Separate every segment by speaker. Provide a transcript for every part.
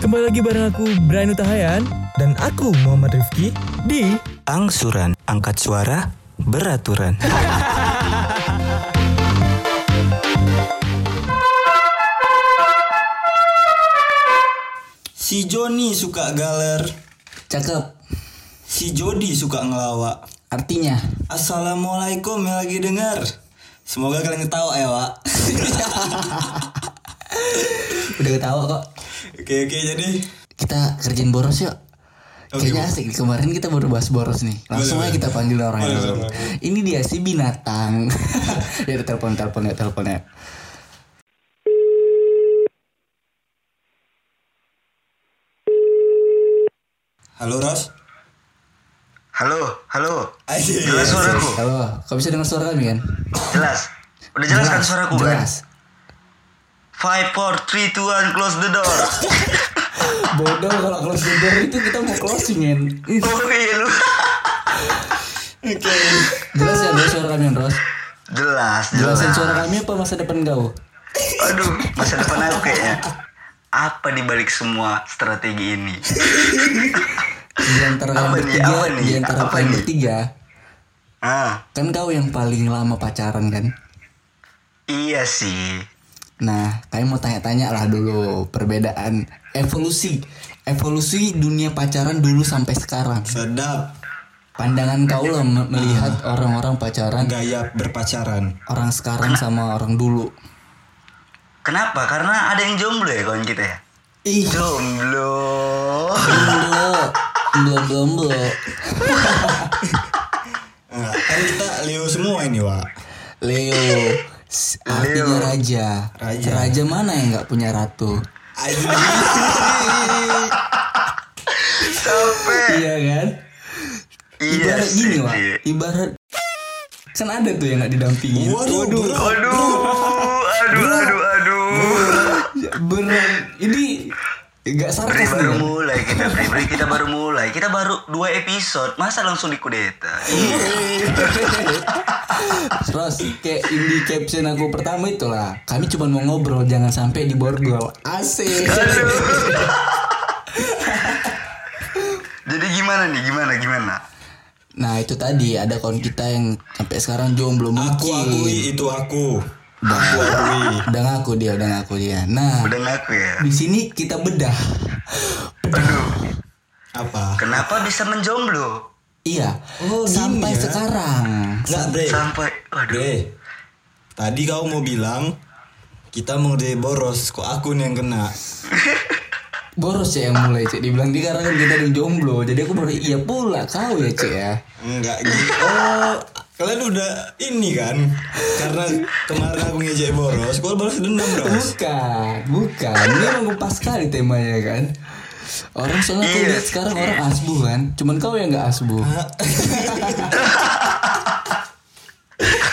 Speaker 1: Kembali lagi bareng aku Brian Utahayan
Speaker 2: Dan aku Muhammad Rifki
Speaker 1: di
Speaker 3: Angsuran, angkat suara, beraturan. Si Joni suka galer,
Speaker 4: Cakep.
Speaker 3: si Jody suka ngelawak.
Speaker 4: Artinya,
Speaker 3: Assalamualaikum yang lagi dengar. Semoga kalian ketawa ya, Wak.
Speaker 4: udah ketawa kok.
Speaker 3: oke, oke, jadi
Speaker 4: Kita kerjain boros yuk. Kayaknya asik kemarin kita baru bahas boros nih. Langsung aja kita panggil orang
Speaker 3: Boleh,
Speaker 4: ini.
Speaker 3: boleh,
Speaker 4: Ini dia si binatang. ya udah, telepon telepon ya telepon ya.
Speaker 3: halo Ros.
Speaker 5: Halo, halo.
Speaker 3: Asyik.
Speaker 5: Jelas suaraku.
Speaker 4: Halo, kau bisa dengar suara kami kan?
Speaker 5: Jelas. Udah jelas, kan suaraku kan?
Speaker 4: Jelas.
Speaker 5: Five, four, three, two, one, close the door.
Speaker 4: Bodoh kalau close the door itu kita mau closing kan.
Speaker 5: oh iya lu.
Speaker 4: Jelas ya ada suara kami kan, Ros.
Speaker 5: Jelas, jelas.
Speaker 4: Jelasin suara kami apa masa depan kau?
Speaker 5: Aduh, masa depan aku kayaknya. Apa dibalik semua strategi ini?
Speaker 4: Di antara
Speaker 5: Apa
Speaker 4: kalian
Speaker 5: nih,
Speaker 4: bertiga,
Speaker 5: apa nih,
Speaker 4: di antara
Speaker 5: apa
Speaker 4: kalian
Speaker 5: nih?
Speaker 4: bertiga,
Speaker 5: Ah,
Speaker 4: kan kau yang paling lama pacaran kan?
Speaker 5: iya sih.
Speaker 4: Nah, kalian mau tanya-tanya lah dulu perbedaan evolusi, evolusi dunia pacaran dulu sampai sekarang.
Speaker 3: Sedap
Speaker 4: Pandangan kau lah me- melihat orang-orang pacaran,
Speaker 3: gaya berpacaran.
Speaker 4: orang sekarang sama orang dulu.
Speaker 5: Kenapa? Karena ada yang jomblo ya kawan kita ya.
Speaker 4: Ih,
Speaker 5: Jomblo.
Speaker 4: jomblo, belum jomblo.
Speaker 3: Nah, kan kita Leo semua ini, Wak.
Speaker 4: Leo, s- artinya raja.
Speaker 3: Raja.
Speaker 4: mana yang nggak punya ratu?
Speaker 3: Asyik.
Speaker 5: Sampai.
Speaker 4: Iya kan?
Speaker 5: Iya
Speaker 4: Ibarat
Speaker 5: sih.
Speaker 4: gini lah, ibarat kan ada tuh yang nggak didampingin.
Speaker 3: Waduh, bro.
Speaker 5: Aduh, aduh, aduh, aduh.
Speaker 4: Ya, Beneran, ini nggak
Speaker 5: Pri
Speaker 4: sarkas nih
Speaker 5: baru
Speaker 4: kan?
Speaker 5: mulai kita Pri, Pri, kita baru mulai kita baru dua episode masa langsung dikudeta
Speaker 3: Iya.
Speaker 4: Terus kayak in di caption aku pertama itulah Kami cuma mau ngobrol jangan sampai di borgol Asik
Speaker 5: jadi gimana nih gimana gimana
Speaker 4: Nah itu tadi ada kawan kita yang sampai sekarang
Speaker 3: Aku
Speaker 4: jomblo mungkin
Speaker 3: akui itu aku.
Speaker 4: Udah,
Speaker 3: Aku akui.
Speaker 4: udah ngaku dia, udah ngaku dia Nah
Speaker 5: udah ngaku ya
Speaker 4: di sini kita bedah
Speaker 3: Apa?
Speaker 5: kenapa bisa menjomblo
Speaker 4: Iya
Speaker 3: Oh, gini
Speaker 4: sampai
Speaker 3: ya.
Speaker 4: sekarang
Speaker 3: Enggak, Bre.
Speaker 5: sampai aduh
Speaker 3: Bre. Tadi kau mau bilang kita mau ngerjain boros, kok aku nih yang kena?
Speaker 4: Boros ya yang mulai cek Dibilang dia karena kan kita ada yang jomblo Jadi aku baru iya pula kau ya cek ya
Speaker 3: Enggak gitu. Oh, kalian udah ini kan? Karena kemarin aku ngejek boros, kau balas dendam boros.
Speaker 4: Bukan, bukan. Ini emang pas sekali temanya kan. Orang soalnya aku
Speaker 5: Iya.
Speaker 4: lihat sekarang orang asbu kan. Cuman kau yang nggak asbu.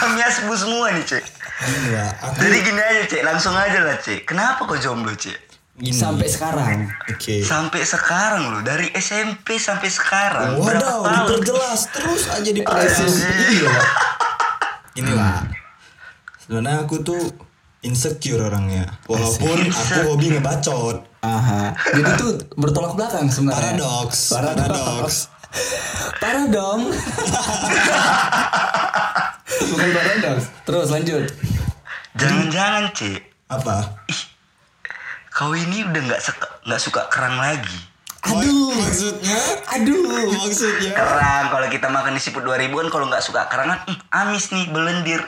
Speaker 5: kami asbu semua nih cek
Speaker 3: Enggak, aku
Speaker 5: jadi gini aja cek langsung aja lah cek kenapa kok jomblo cek
Speaker 3: gini.
Speaker 4: Sampai sekarang.
Speaker 3: Oke.
Speaker 5: sampai sekarang loh dari SMP sampai sekarang berapa
Speaker 3: Waduh,
Speaker 5: tahun
Speaker 3: diperjelas terus aja diperjelas.
Speaker 4: Iya.
Speaker 3: Inilah.
Speaker 4: Hmm.
Speaker 3: Sebenarnya aku tuh insecure orangnya. Walaupun aku hobi ngebacot.
Speaker 4: Aha. Jadi tuh bertolak belakang sebenarnya. Iya.
Speaker 3: Paradoks, paradoks.
Speaker 4: Paradoks. Paradong. Bukan paradoks. Terus lanjut.
Speaker 5: jangan-jangan cek
Speaker 3: Apa?
Speaker 5: kau ini udah nggak seka- nggak suka kerang lagi
Speaker 4: Aduh.
Speaker 3: Maksudnya?
Speaker 4: Aduh.
Speaker 3: Maksudnya?
Speaker 5: kerang kalau kita makan di siput 2000 kan kalau nggak suka kerang kan "Hmm, amis nih belendir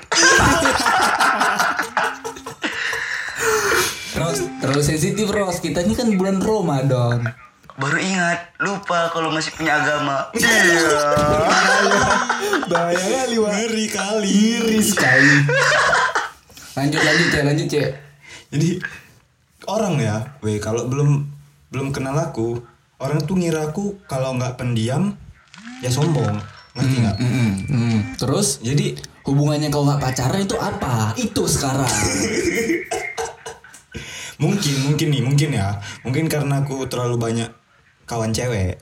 Speaker 4: Terus terlalu sensitif Ros. Kita ini kan bulan Ramadan.
Speaker 5: baru ingat lupa kalau masih punya agama iya
Speaker 4: Bahaya kali Wak.
Speaker 3: Ngeri kali.
Speaker 4: Iris sekali. lanjut lanjut cek lanjut cek.
Speaker 3: Jadi orang ya, weh kalau belum belum kenal aku, orang tuh ngira aku kalau nggak pendiam ya sombong. Ngerti nggak?
Speaker 4: Mm-mm, mm. Terus
Speaker 3: Jadi
Speaker 4: hubungannya kau nggak pacaran itu apa? Itu sekarang.
Speaker 3: mungkin mungkin nih mungkin ya, mungkin karena aku terlalu banyak kawan cewek.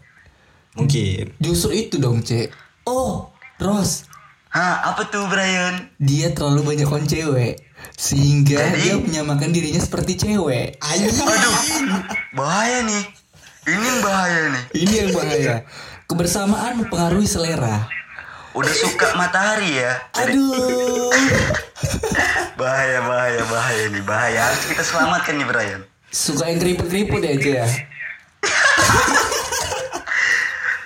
Speaker 3: Mungkin.
Speaker 4: Justru itu dong cek. Oh Ros
Speaker 5: Hah, apa tuh Brian
Speaker 4: dia terlalu banyak kon cewek sehingga
Speaker 5: Jadi?
Speaker 4: dia menyamakan dirinya seperti cewek.
Speaker 3: Ayo.
Speaker 5: aduh bahaya nih Ini yang bahaya nih.
Speaker 4: Ini yang bahaya. Kebersamaan mempengaruhi selera.
Speaker 5: Udah suka matahari ya.
Speaker 4: Aduh.
Speaker 5: Bahaya, bahaya, bahaya nih. Bahaya. Harus kita selamatkan nih Brian.
Speaker 4: Suka yang keriput-keriput ya, Cia.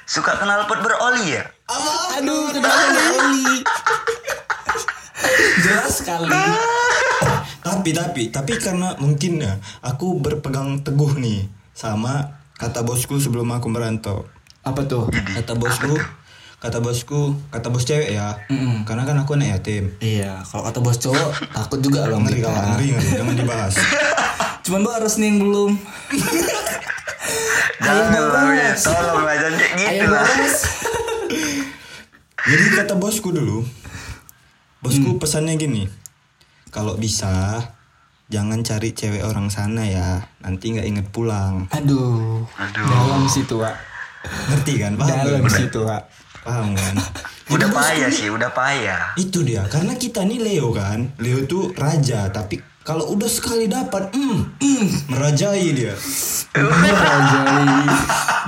Speaker 5: Suka knalpot beroli ya.
Speaker 4: Aduh, kenapa ada Oli? Jelas sekali.
Speaker 3: tapi tapi tapi karena mungkin ya aku berpegang teguh nih sama kata bosku sebelum aku merantau
Speaker 4: Apa tuh?
Speaker 3: kata bosku kata bosku kata bos cewek ya karena kan aku anak yatim
Speaker 4: Iya, kalau kata bos cowok takut juga loh
Speaker 3: ngeri kan? kawan
Speaker 4: mereka.
Speaker 3: ngeri ngeri jangan dibahas
Speaker 4: Cuman baras nih yang belum.
Speaker 5: Jangan lah, Brian. ya, Tolong lah. Jangan kayak gitu
Speaker 4: Ayo
Speaker 5: lah.
Speaker 4: baras.
Speaker 3: jadi kata bosku dulu
Speaker 4: Mm.
Speaker 3: bosku pesannya gini kalau bisa jangan cari cewek orang sana ya nanti nggak inget pulang
Speaker 4: Aduh.
Speaker 5: Aduh.
Speaker 4: Dalam situ, Wak.
Speaker 3: ngerti kan paham
Speaker 4: Dalam
Speaker 3: kan?
Speaker 4: situ, Wak.
Speaker 3: paham kan
Speaker 5: Udah payah sih, udah payah.
Speaker 3: itu dia karena kita nih Leo kan Leo tuh raja tapi kalau udah sekali dapat mm, mm, merajai dia
Speaker 4: Anjay.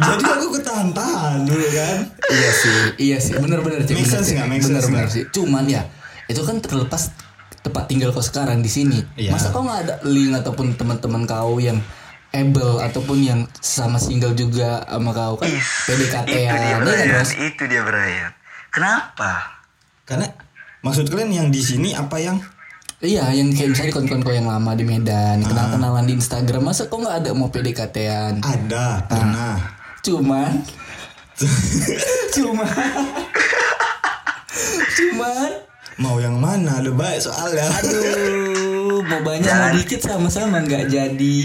Speaker 3: jadi aku ketahan tahan dulu kan
Speaker 4: iya sih iya sih benar-benar sih
Speaker 3: Make sense nggak? Make sense
Speaker 4: benar-benar
Speaker 3: nggak?
Speaker 4: sih cuman ya itu kan terlepas tempat tinggal kau sekarang di sini
Speaker 3: Iya.
Speaker 4: masa kau nggak ada link ataupun teman-teman kau yang able ataupun yang sama single juga sama kau kan
Speaker 5: Is,
Speaker 4: PDKT
Speaker 5: itu dia
Speaker 4: ya kan
Speaker 5: Brian,
Speaker 4: Bos?
Speaker 5: itu dia Brian. Kenapa?
Speaker 3: karena maksud kalian yang di sini apa yang
Speaker 4: Iya, yang kayak misalnya kawan-kawan kau yang lama di Medan,
Speaker 5: Ah.
Speaker 4: kenal-kenalan di Instagram, masa kau nggak ada mau PDKT-an?
Speaker 3: ada pernah
Speaker 4: Cuman, cuman, cuman,
Speaker 3: mau yang mana lebih baik soalnya
Speaker 4: Aduh, mau banyak mau dikit sama-sama nggak jadi.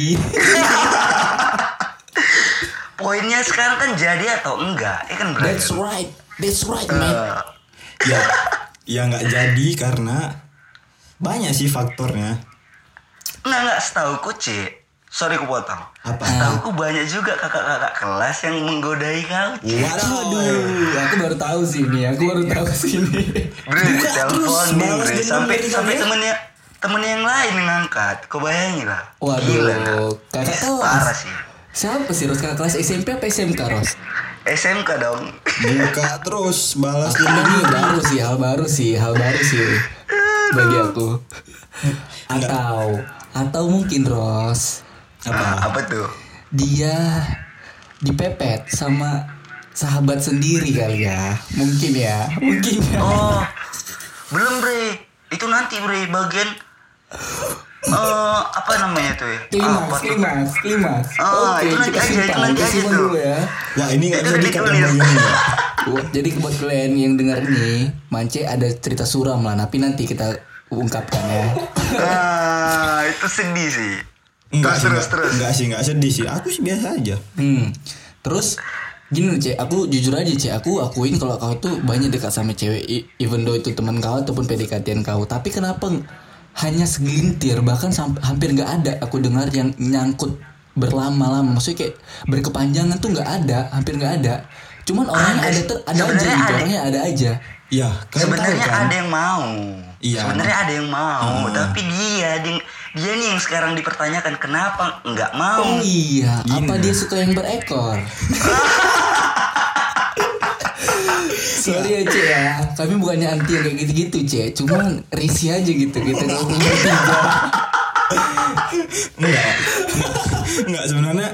Speaker 5: Poinnya sekarang kan jadi atau enggak? Ya kan Brian.
Speaker 4: That's right, that's right, man.
Speaker 3: ya ya nggak jadi karena banyak sih faktornya
Speaker 5: Enggak, enggak, setauku C. Sorry aku potong.
Speaker 3: Apa?
Speaker 5: Setauku banyak juga kakak-kakak kelas yang menggodai kau, C.
Speaker 4: Aduh, aku baru tahu sih ini, aku baru tahu sih ini.
Speaker 5: Bre,
Speaker 3: Buka terus,
Speaker 5: telepon
Speaker 3: balas
Speaker 5: bre.
Speaker 3: dendam
Speaker 5: Sampai,
Speaker 3: dari
Speaker 5: sampai
Speaker 3: kalian.
Speaker 5: temennya temennya yang lain yang ngangkat. Kau bayangin lah. Gila, nah.
Speaker 4: Waduh, kakak
Speaker 5: Ih, Parah
Speaker 4: kelas.
Speaker 5: sih.
Speaker 4: Siapa sih Ros kakak kelas SMP apa SMK Ros?
Speaker 5: SMK dong.
Speaker 3: buka terus balas dendam
Speaker 4: Ini baru sih, hal baru sih, hal baru sih bagi aku. Atau, atau mungkin Ros
Speaker 5: Nah, apa tuh?
Speaker 4: dia dipepet sama sahabat sendiri kali ya mungkin ya mungkin ya
Speaker 5: Oh, belum bre. Itu nanti bre bagian eh apa namanya tuh ya?
Speaker 4: klimaks
Speaker 5: Apa tuh?
Speaker 4: klimaks klimaks
Speaker 5: Oh,
Speaker 4: oke
Speaker 5: itu nanti
Speaker 4: kita
Speaker 5: aja,
Speaker 4: simpan
Speaker 5: itu nanti
Speaker 4: kita
Speaker 5: aja
Speaker 4: simpan
Speaker 5: tuh.
Speaker 4: dulu ya
Speaker 3: wah ini nggak
Speaker 5: Itu
Speaker 3: jadi
Speaker 5: ditulis.
Speaker 3: kata begini
Speaker 4: Wah, jadi buat kalian yang dengar ini Mance ada cerita suram lah tapi nanti kita ungkapkan ya
Speaker 5: Ah, itu sedih sih.
Speaker 3: Enggak sih,
Speaker 5: terus
Speaker 3: enggak,
Speaker 5: terus terus.
Speaker 3: enggak sih, enggak sedih sih. Aku sih biasa aja.
Speaker 4: hmm. terus gini loh cek aku jujur aja cek aku akuin kalau kau tuh banyak dekat sama cewek e- even though itu teman kau ataupun PDKT-an kau tapi kenapa ng- hanya segelintir bahkan sam- hampir nggak ada aku dengar yang nyangkut berlama-lama maksudnya kayak berkepanjangan tuh nggak ada hampir nggak ada cuman orangnya ada ter- ada aja gitu
Speaker 5: Ah, Sebenarnya ada.
Speaker 4: orangnya ada aja
Speaker 3: Iya, kalian tahu
Speaker 5: Sebenarnya
Speaker 3: kan?
Speaker 5: Ya, ada yang mau.
Speaker 3: Iya.
Speaker 5: Sebenarnya ada yang mau, tapi dia dia, dia nih yang sekarang dipertanyakan kenapa nggak
Speaker 4: Oh
Speaker 5: mau.
Speaker 4: iya,
Speaker 3: Gini.
Speaker 4: apa dia suka yang berekor? Sorry ya Ce ya, kami bukannya anti yang kayak gitu-gitu Ce Cuman risih aja gitu, kita kalau bertiga
Speaker 3: Enggak. enggak sebenarnya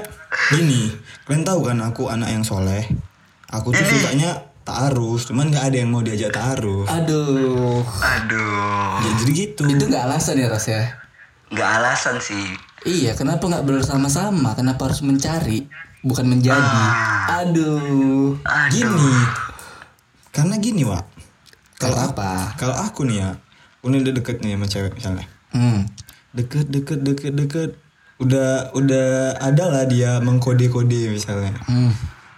Speaker 3: gini. Kalian tahu kan aku anak yang soleh. Aku tuh sukanya taaruf, cuman nggak ada yang mau diajak taaruf.
Speaker 4: Aduh,
Speaker 5: Aduh,
Speaker 3: Ya, jadi gitu.
Speaker 4: itu nggak alasan ya Ros ya?
Speaker 5: nggak alasan sih.
Speaker 4: Iya, kenapa nggak bersama-sama? Kenapa harus mencari? Bukan menjadi Ah. Aduh
Speaker 3: Gini. Karena gini, Wak. Kalau
Speaker 4: Kalau
Speaker 3: aku,
Speaker 4: apa?
Speaker 3: kalau aku nih ya, udah deket nih sama cewek misalnya.
Speaker 4: Hmm.
Speaker 3: Deket, deket, deket, deket. Udah udah ada lah dia mengkode-kode misalnya.
Speaker 4: Hmm.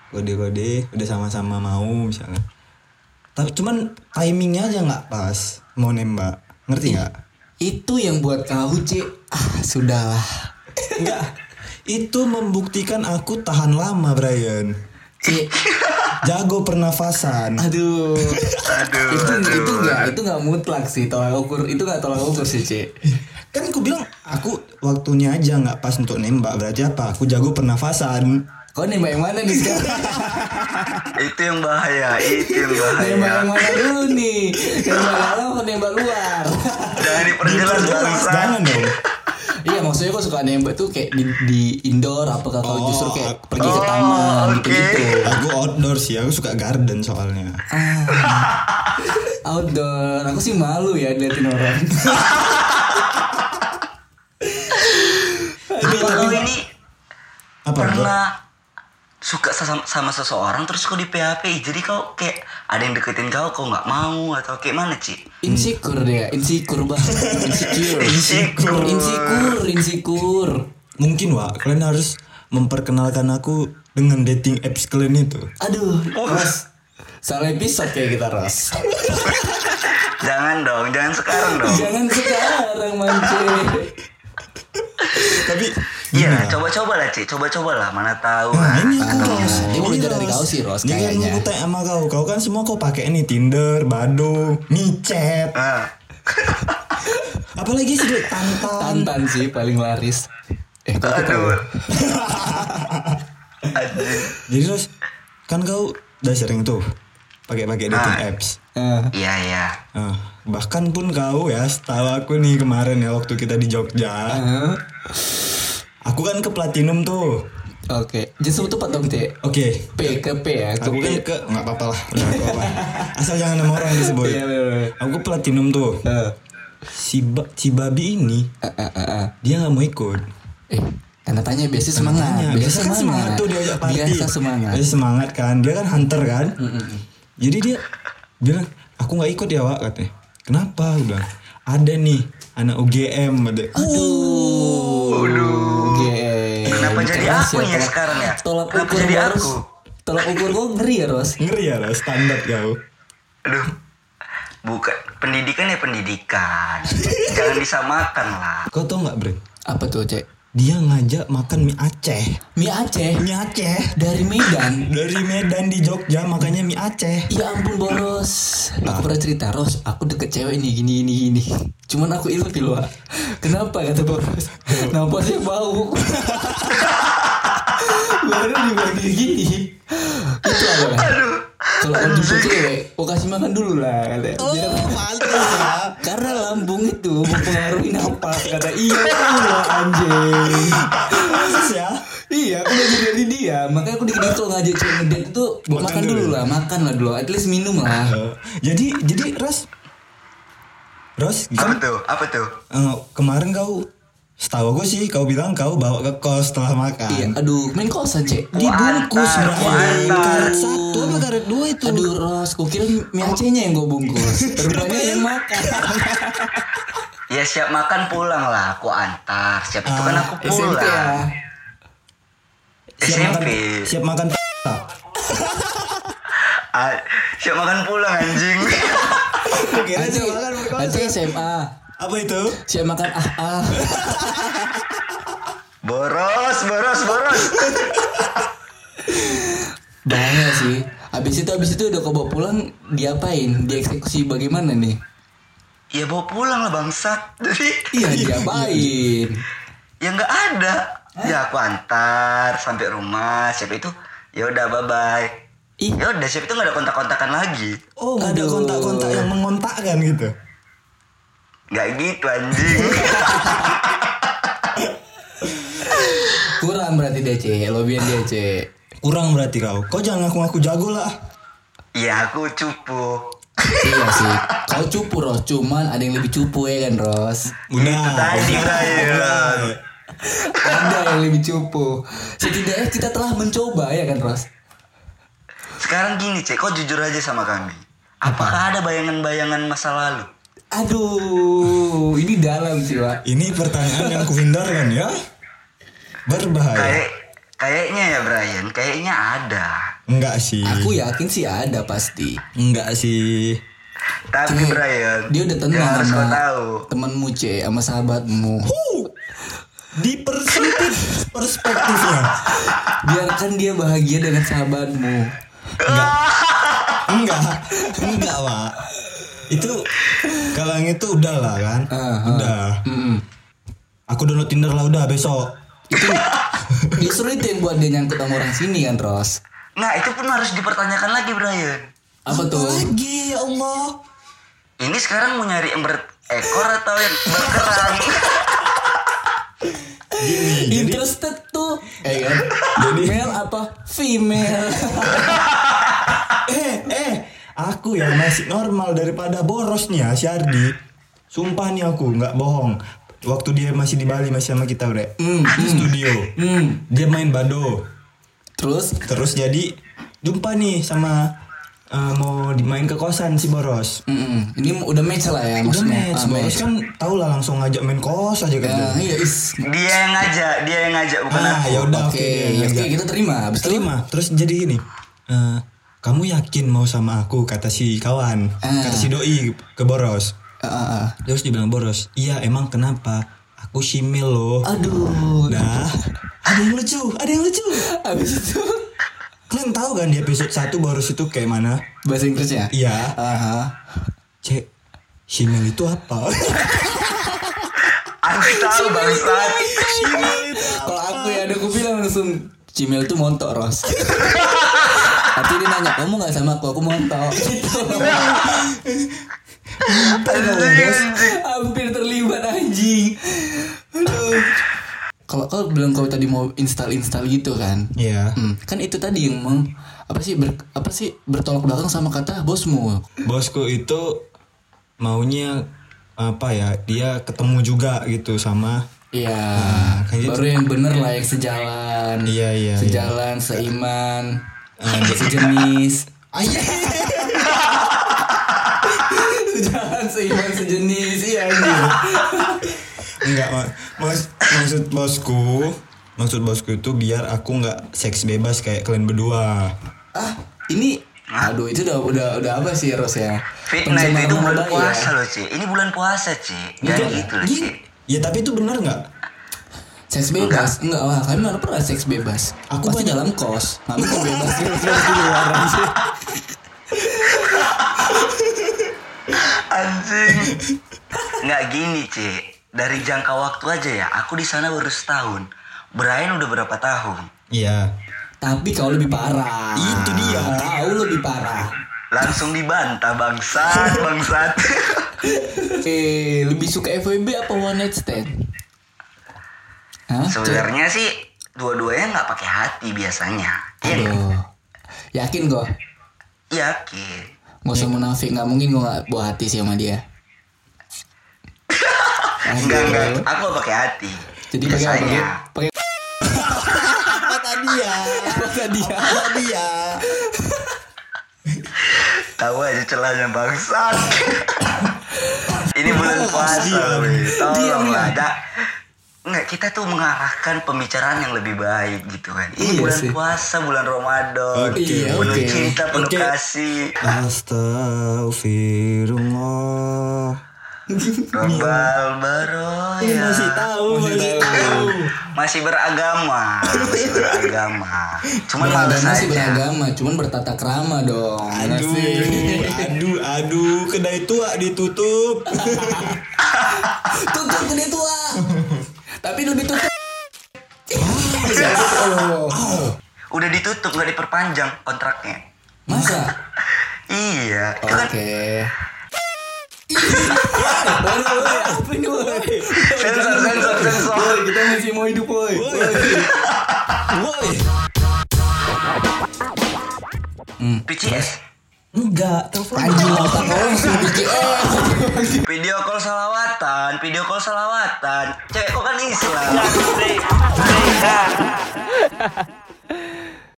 Speaker 3: kode-kode udah sama-sama mau misalnya tapi cuman timingnya aja nggak pas mau nembak ngerti nggak
Speaker 4: Itu yang buat kau Ce Ah, sudahlah
Speaker 3: nggak itu membuktikan aku tahan lama Brian
Speaker 4: Ce,
Speaker 3: jago pernafasan
Speaker 4: Aduh.
Speaker 5: Aduh,
Speaker 4: itu
Speaker 5: aduh,
Speaker 4: itu enggak itu enggak mutlak sih tolak ukur. Itu enggak tolak ukur sih, C.
Speaker 3: kan aku bilang aku waktunya aja nggak pas untuk nembak berarti apa aku jago pernafasan
Speaker 4: Kau nembak yang mana nih sekarang?
Speaker 5: itu yang bahaya itu yang
Speaker 4: nembak
Speaker 5: bahaya
Speaker 4: yang mana dulu nih? Nembak dalam atau nembak luar?
Speaker 5: jangan diperjelas
Speaker 3: Jangan,
Speaker 5: bangsa
Speaker 3: jangan dong.
Speaker 4: iya maksudnya kau suka nembak tuh kayak di, di indoor apakah kau justru kayak pergi ke
Speaker 5: oh,
Speaker 4: taman
Speaker 5: oke.
Speaker 4: gitu-gitu.
Speaker 3: Aku outdoor sih, aku suka garden soalnya.
Speaker 4: Outdoor, aku sih malu ya liatin orang.
Speaker 5: tapi kalau ini
Speaker 3: Apa?
Speaker 5: pernah suka sama, sama seseorang terus kau di PHP jadi kau kayak ada yang deketin kau kau nggak mau atau kayak mana Ci?
Speaker 4: Insecure dia, insecure banget, insecure,
Speaker 5: Insecure.
Speaker 4: insecure, insecure.
Speaker 3: Mungkin Wak, kalian harus memperkenalkan aku dengan dating apps kalian itu.
Speaker 4: Aduh,
Speaker 5: Oh.
Speaker 4: Ros, salah episode kayak kita Ros.
Speaker 5: jangan dong jangan sekarang dong
Speaker 4: Jangan sekarang mancing.
Speaker 3: Tapi
Speaker 5: Iya, coba-coba lah, Ci. Coba-coba lah, mana tahu.
Speaker 3: Nah,
Speaker 5: ah.
Speaker 3: ini aku
Speaker 4: Ah,
Speaker 3: Ros.
Speaker 4: dia mau
Speaker 3: Ini
Speaker 4: belajar dari kau sih, Ros,
Speaker 3: Dia kan
Speaker 4: kayaknya.
Speaker 3: mau tanya sama kau. Kau kan semua kau pakai nih Tinder, Badu, Micet,
Speaker 5: Ah.
Speaker 3: apalagi sih Dek? Tantan.
Speaker 4: Tantan sih paling laris. Eh, kau
Speaker 5: Aduh.
Speaker 4: ketawa.
Speaker 5: Aduh.
Speaker 3: Jadi terus kan kau udah sering tuh pakai-pakai dating apps.
Speaker 4: Eh,
Speaker 5: Iya, iya.
Speaker 3: Nah, bahkan pun kau ya, setahu aku nih kemarin ya waktu kita di Jogja,
Speaker 4: eh,
Speaker 3: aku kan ke Platinum tuh.
Speaker 4: Oke, justru tepat dong Cek.
Speaker 3: Oke,
Speaker 4: P ke P ya, ke
Speaker 3: aku
Speaker 4: P.
Speaker 3: kan ke nggak apa-apa lah, udah nggak apa-apa. Asal jangan nama orang disebut.
Speaker 4: Iya, bener, bener.
Speaker 3: Aku ke Platinum tuh.
Speaker 4: Eh,
Speaker 3: Si, ba- si babi ini
Speaker 4: eh, eh, eh, eh.
Speaker 3: dia nggak mau ikut.
Speaker 4: Eh, tanda tanya biasa semangat,
Speaker 3: Tanya,
Speaker 4: Nah, biasa
Speaker 3: kan semangat
Speaker 4: semangat.
Speaker 3: tuh diajak party.
Speaker 4: Biasa semangat.
Speaker 3: Biasa semangat kan. Dia kan hunter kan. Jadi dia bilang, aku nggak ikut ya Wak katanya. Kenapa? Aku bilang, ada nih anak UGM. Ada.
Speaker 4: Oh. Aduh. geng.
Speaker 5: Kenapa jadi
Speaker 4: Keras
Speaker 5: aku ya
Speaker 4: tolak-
Speaker 5: sekarang ya?
Speaker 4: Tolak
Speaker 5: Kenapa
Speaker 4: ukur
Speaker 5: jadi
Speaker 4: gua,
Speaker 5: aku?
Speaker 4: Ros. Tolak ukur gue ngeri ya, Ros.
Speaker 3: Ngeri ya lah standar kau.
Speaker 5: Aduh. Bukan pendidikan ya pendidikan. Jangan disamakan lah.
Speaker 3: Kau tau nggak Bre?
Speaker 4: Apa tuh, Cek?
Speaker 3: Dia ngajak makan mie Aceh.
Speaker 4: Mie Aceh
Speaker 3: Mie Aceh.
Speaker 4: dari Medan.
Speaker 3: Dari Medan di Jogja makanya mie Aceh.
Speaker 4: Ya ampun Boros Aku pernah cerita Ros Aku deket cewek nih gini gini gini Cuman aku ilfil loh Kenapa kata Boros Nampaknya bau Baru dibagi gini Itu apa Kalau mau jumpa cewek Kau kasih makan dulu lah kata. Biar- Karena lambung itu mempengaruhi napas Kata iya Allah anjing
Speaker 3: Pantes ya.
Speaker 4: Iya, aku belajar dari dia. Makanya aku dikit kalau ngajak cewek ngedate itu makan,
Speaker 3: Makan
Speaker 4: dulu Ah.
Speaker 3: dulu.
Speaker 4: lah, makan lah dulu. At least minum lah.
Speaker 3: Eh, jadi jadi Ros. Ros, kan
Speaker 5: Apa tuh? Apa tuh?
Speaker 3: Eh, kemarin kau setahu aku sih kau bilang kau bawa ke kos setelah makan.
Speaker 4: Iya, aduh, main kosan cek. Gitu.
Speaker 3: Dibungkus
Speaker 5: Antar,
Speaker 3: berarti
Speaker 5: antar.
Speaker 3: karet satu apa karet dua itu?
Speaker 4: Aduh Ros, kukira mie Acehnya yang gue bungkus Rupanya yang makan
Speaker 5: Ya siap makan pulang lah, aku antar. Siap itu kan aku
Speaker 4: SMP ya
Speaker 5: pulang.
Speaker 3: siap makan,
Speaker 5: SMP.
Speaker 3: siap makan tak?
Speaker 5: Ah, Siap makan pulang anjing.
Speaker 3: Kira
Speaker 4: Nanti,
Speaker 3: siap makan berkos.
Speaker 4: nanti SMA
Speaker 3: Apa itu?
Speaker 4: Siap makan ah ah
Speaker 5: Boros, boros, boros.
Speaker 4: Bahaya sih Abis itu, abis itu udah kau bawa pulang Diapain? Dieksekusi bagaimana nih?
Speaker 5: Ya bawa pulang lah bangsat. Jadi
Speaker 4: Iya, diapain?
Speaker 5: ya nggak ada ya aku antar sampai rumah siapa itu ya udah bye bye
Speaker 4: Ih.
Speaker 5: ya udah siapa itu nggak ada kontak kontakan lagi
Speaker 3: Oh, nggak ada
Speaker 4: Aduh.
Speaker 3: kontak-kontak yang mengontakkan gitu.
Speaker 5: nggak gitu anjing
Speaker 4: Kurang berarti DC, lobian DC.
Speaker 3: Kurang berarti kau. Kau jangan ngaku-ngaku jago lah.
Speaker 5: ya aku cupu
Speaker 4: iya sih. Kau cupu Ros, cuman ada yang lebih cupu ya kan Ros.
Speaker 5: Itu tadi, Brian.
Speaker 4: Ada yang lebih cupu. Setidaknya kita telah mencoba ya kan Ros.
Speaker 5: sekarang gini cek kau jujur aja sama kami apakah ada bayangan bayangan masa lalu
Speaker 4: Aduh, ini dalam sih Wak.
Speaker 3: Ini pertanyaan yang kuhindarkan ya. Berbahaya.
Speaker 4: Oh, iya.
Speaker 5: kayak kayaknya ya Brian kayaknya ada
Speaker 3: Enggak sih.
Speaker 4: Aku yakin sih ada pasti.
Speaker 3: Enggak sih.
Speaker 5: tapi
Speaker 4: Cek,
Speaker 5: Brian
Speaker 4: Dia udah tenang
Speaker 5: yang harus kau
Speaker 4: sama
Speaker 5: tahu
Speaker 4: temanmu C, sama sahabatmu.
Speaker 3: Dipersempit perspektifnya.
Speaker 4: Biarkan dia bahagia dengan sahabatmu.
Speaker 3: enggak enggak pak itu kalau yang itu udah lah kan
Speaker 4: Ah, ah.
Speaker 3: udah aku download tinder lah udah besok
Speaker 4: Itu justru itu yang buat dia nyangkut sama orang sini kan Ros
Speaker 5: Nah itu pun harus dipertanyakan lagi Brian.
Speaker 4: apa tuh
Speaker 2: Lagi ya Allah.
Speaker 5: Ini sekarang mau nyari yang berekor atau yang berkerang?
Speaker 4: interested tuh eh kan male atau female
Speaker 3: eh eh aku ya masih normal daripada borosnya si Ardi sumpah nih aku nggak bohong waktu dia masih di Bali masih sama kita bre
Speaker 4: Hmm.
Speaker 3: di studio dia main bado
Speaker 4: terus
Speaker 3: terus jadi jumpa nih sama eh, mau dimain ke kosan si boros
Speaker 4: mm-mm, ini udah match lah ya
Speaker 3: udah
Speaker 4: maksudnya
Speaker 3: match
Speaker 4: Ah,
Speaker 3: boros kan tau lah langsung ngajak main kos aja kan
Speaker 4: Ya, iya is
Speaker 5: dia yang ngajak, dia yang ngajak bukan
Speaker 3: ah
Speaker 5: aku.
Speaker 3: ya udah
Speaker 4: oke
Speaker 3: oke
Speaker 4: gitu.
Speaker 3: dia
Speaker 4: oke,
Speaker 3: ngajak.
Speaker 4: kita terima abis itu
Speaker 3: terima terus jadi gini eh, kamu yakin mau sama aku kata si kawan
Speaker 4: Ah.
Speaker 3: kata si doi ke boros
Speaker 4: Ah, ah, ah.
Speaker 3: terus dibilang boros iya emang kenapa aku simil loh
Speaker 4: aduh
Speaker 3: nah ada yang lucu ada yang lucu
Speaker 4: abis itu
Speaker 3: kalian tahu kan di episode 1 boros itu kayak mana
Speaker 4: bahasa Inggrisnya
Speaker 3: iya
Speaker 4: Aha.
Speaker 3: cek simil itu apa
Speaker 5: Aku tahu bangsat.
Speaker 4: Kalau aku ya ada aku bilang langsung Cimel tuh montok Ros Tapi dia nanya kamu gak sama aku Aku montok gitu.
Speaker 3: Iya.
Speaker 4: Hampir terlibat anjing Aduh. Kalau kau bilang kau tadi mau install-install gitu kan
Speaker 3: iya
Speaker 4: Hmm, Kan itu tadi yang meng apa sih ber- apa sih bertolak belakang sama kata bosmu
Speaker 3: bosku itu maunya apa ya dia ketemu juga gitu sama
Speaker 4: Iya,
Speaker 3: kayak gitu.
Speaker 4: baru yang bener lah yang sejalan.
Speaker 3: Iya, iya, Ah.
Speaker 4: Sejalan, seiman, sejenis. sejalan, seiman, sejenis. Iya, anjing.
Speaker 3: Enggak, ma- mas- maksud bosku, maksud bosku itu biar aku nggak seks bebas kayak kalian berdua.
Speaker 4: Ah, ini Aduh itu udah udah udah apa sih Ros ya?
Speaker 5: Fitnah itu, itu
Speaker 4: Pencemaraan
Speaker 5: bulan puasa
Speaker 4: maba ya?
Speaker 5: loh Ci. Ini bulan puasa Ci.
Speaker 3: Nah,
Speaker 5: Dan gitu loh Ci.
Speaker 3: Gini, ya tapi itu benar nggak?
Speaker 4: Seks bebas? Enggak, wah kami mana pernah seks bebas
Speaker 3: Aku
Speaker 4: Pasti
Speaker 3: banyak-
Speaker 4: dalam kos Kami kan bebas bebas di luar anjing.
Speaker 5: Anjing. Nggak gini Ci. Dari jangka waktu aja ya. Aku di sana baru setahun. Brian udah berapa tahun?
Speaker 3: Iya.
Speaker 4: Tapi kau lebih parah
Speaker 3: Itu dia.
Speaker 4: Kau lebih parah
Speaker 5: Langsung dibantah bangsat, bangsat.
Speaker 4: Eh, lebih suka FWB apa one night stand? Hah? Cek.
Speaker 5: Sebenarnya sih dua-duanya nggak pakai hati biasanya. Iya nggak? Iya,
Speaker 4: Aduh. Oh. Yakin gua?
Speaker 5: Yakin.
Speaker 4: Gak usah munafik, gak mungkin gua gak buah hati sih sama dia Aduh.
Speaker 5: Enggak, enggak. ya? Aku nggak pakai hati.
Speaker 4: Jadi pakai apa?
Speaker 5: biasanya.
Speaker 4: Pakai apa tadi ya? Apa tadi ya?
Speaker 5: Tahu aja celahnya bangsat. Ini bulan
Speaker 4: Iya,
Speaker 5: puasa, weh. tolonglah ada. Enggak, kita tuh mengarahkan pembicaraan yang lebih baik gitu kan.
Speaker 4: Iya
Speaker 5: Ini bulan
Speaker 4: sih.
Speaker 5: puasa, bulan Ramadan.
Speaker 3: Oke,
Speaker 5: penuh
Speaker 4: oke.
Speaker 5: cinta, penuh
Speaker 3: Oke.
Speaker 5: kasih.
Speaker 3: Astagfirullah.
Speaker 5: Rombal
Speaker 4: Iya,
Speaker 5: Baroya.
Speaker 3: Masih tahu, masih tahu.
Speaker 5: Masih beragama, masih beragama. Cuman males
Speaker 4: Beragama sih
Speaker 5: aja.
Speaker 4: beragama, cuman bertata krama dong Bener
Speaker 3: Aduh,
Speaker 4: sih.
Speaker 3: aduh, aduh, kedai tua ditutup.
Speaker 4: Tutup gede tua Tapi udah ditutup Oh.
Speaker 5: Udah ditutup nggak diperpanjang kontraknya.
Speaker 4: Masa?
Speaker 5: Iya, itu kan
Speaker 4: Oke. Waduh, woy, apa ini, woy?
Speaker 5: sensor, sensor, sensor.
Speaker 4: Woy, kita masih mau hidup, woy.
Speaker 3: Woi,
Speaker 5: PCS.
Speaker 3: enggak, telepon.
Speaker 4: Anjing otak orang sih BTS.
Speaker 5: Video call salawatan, video call salawatan. Cewek kok kan Islam.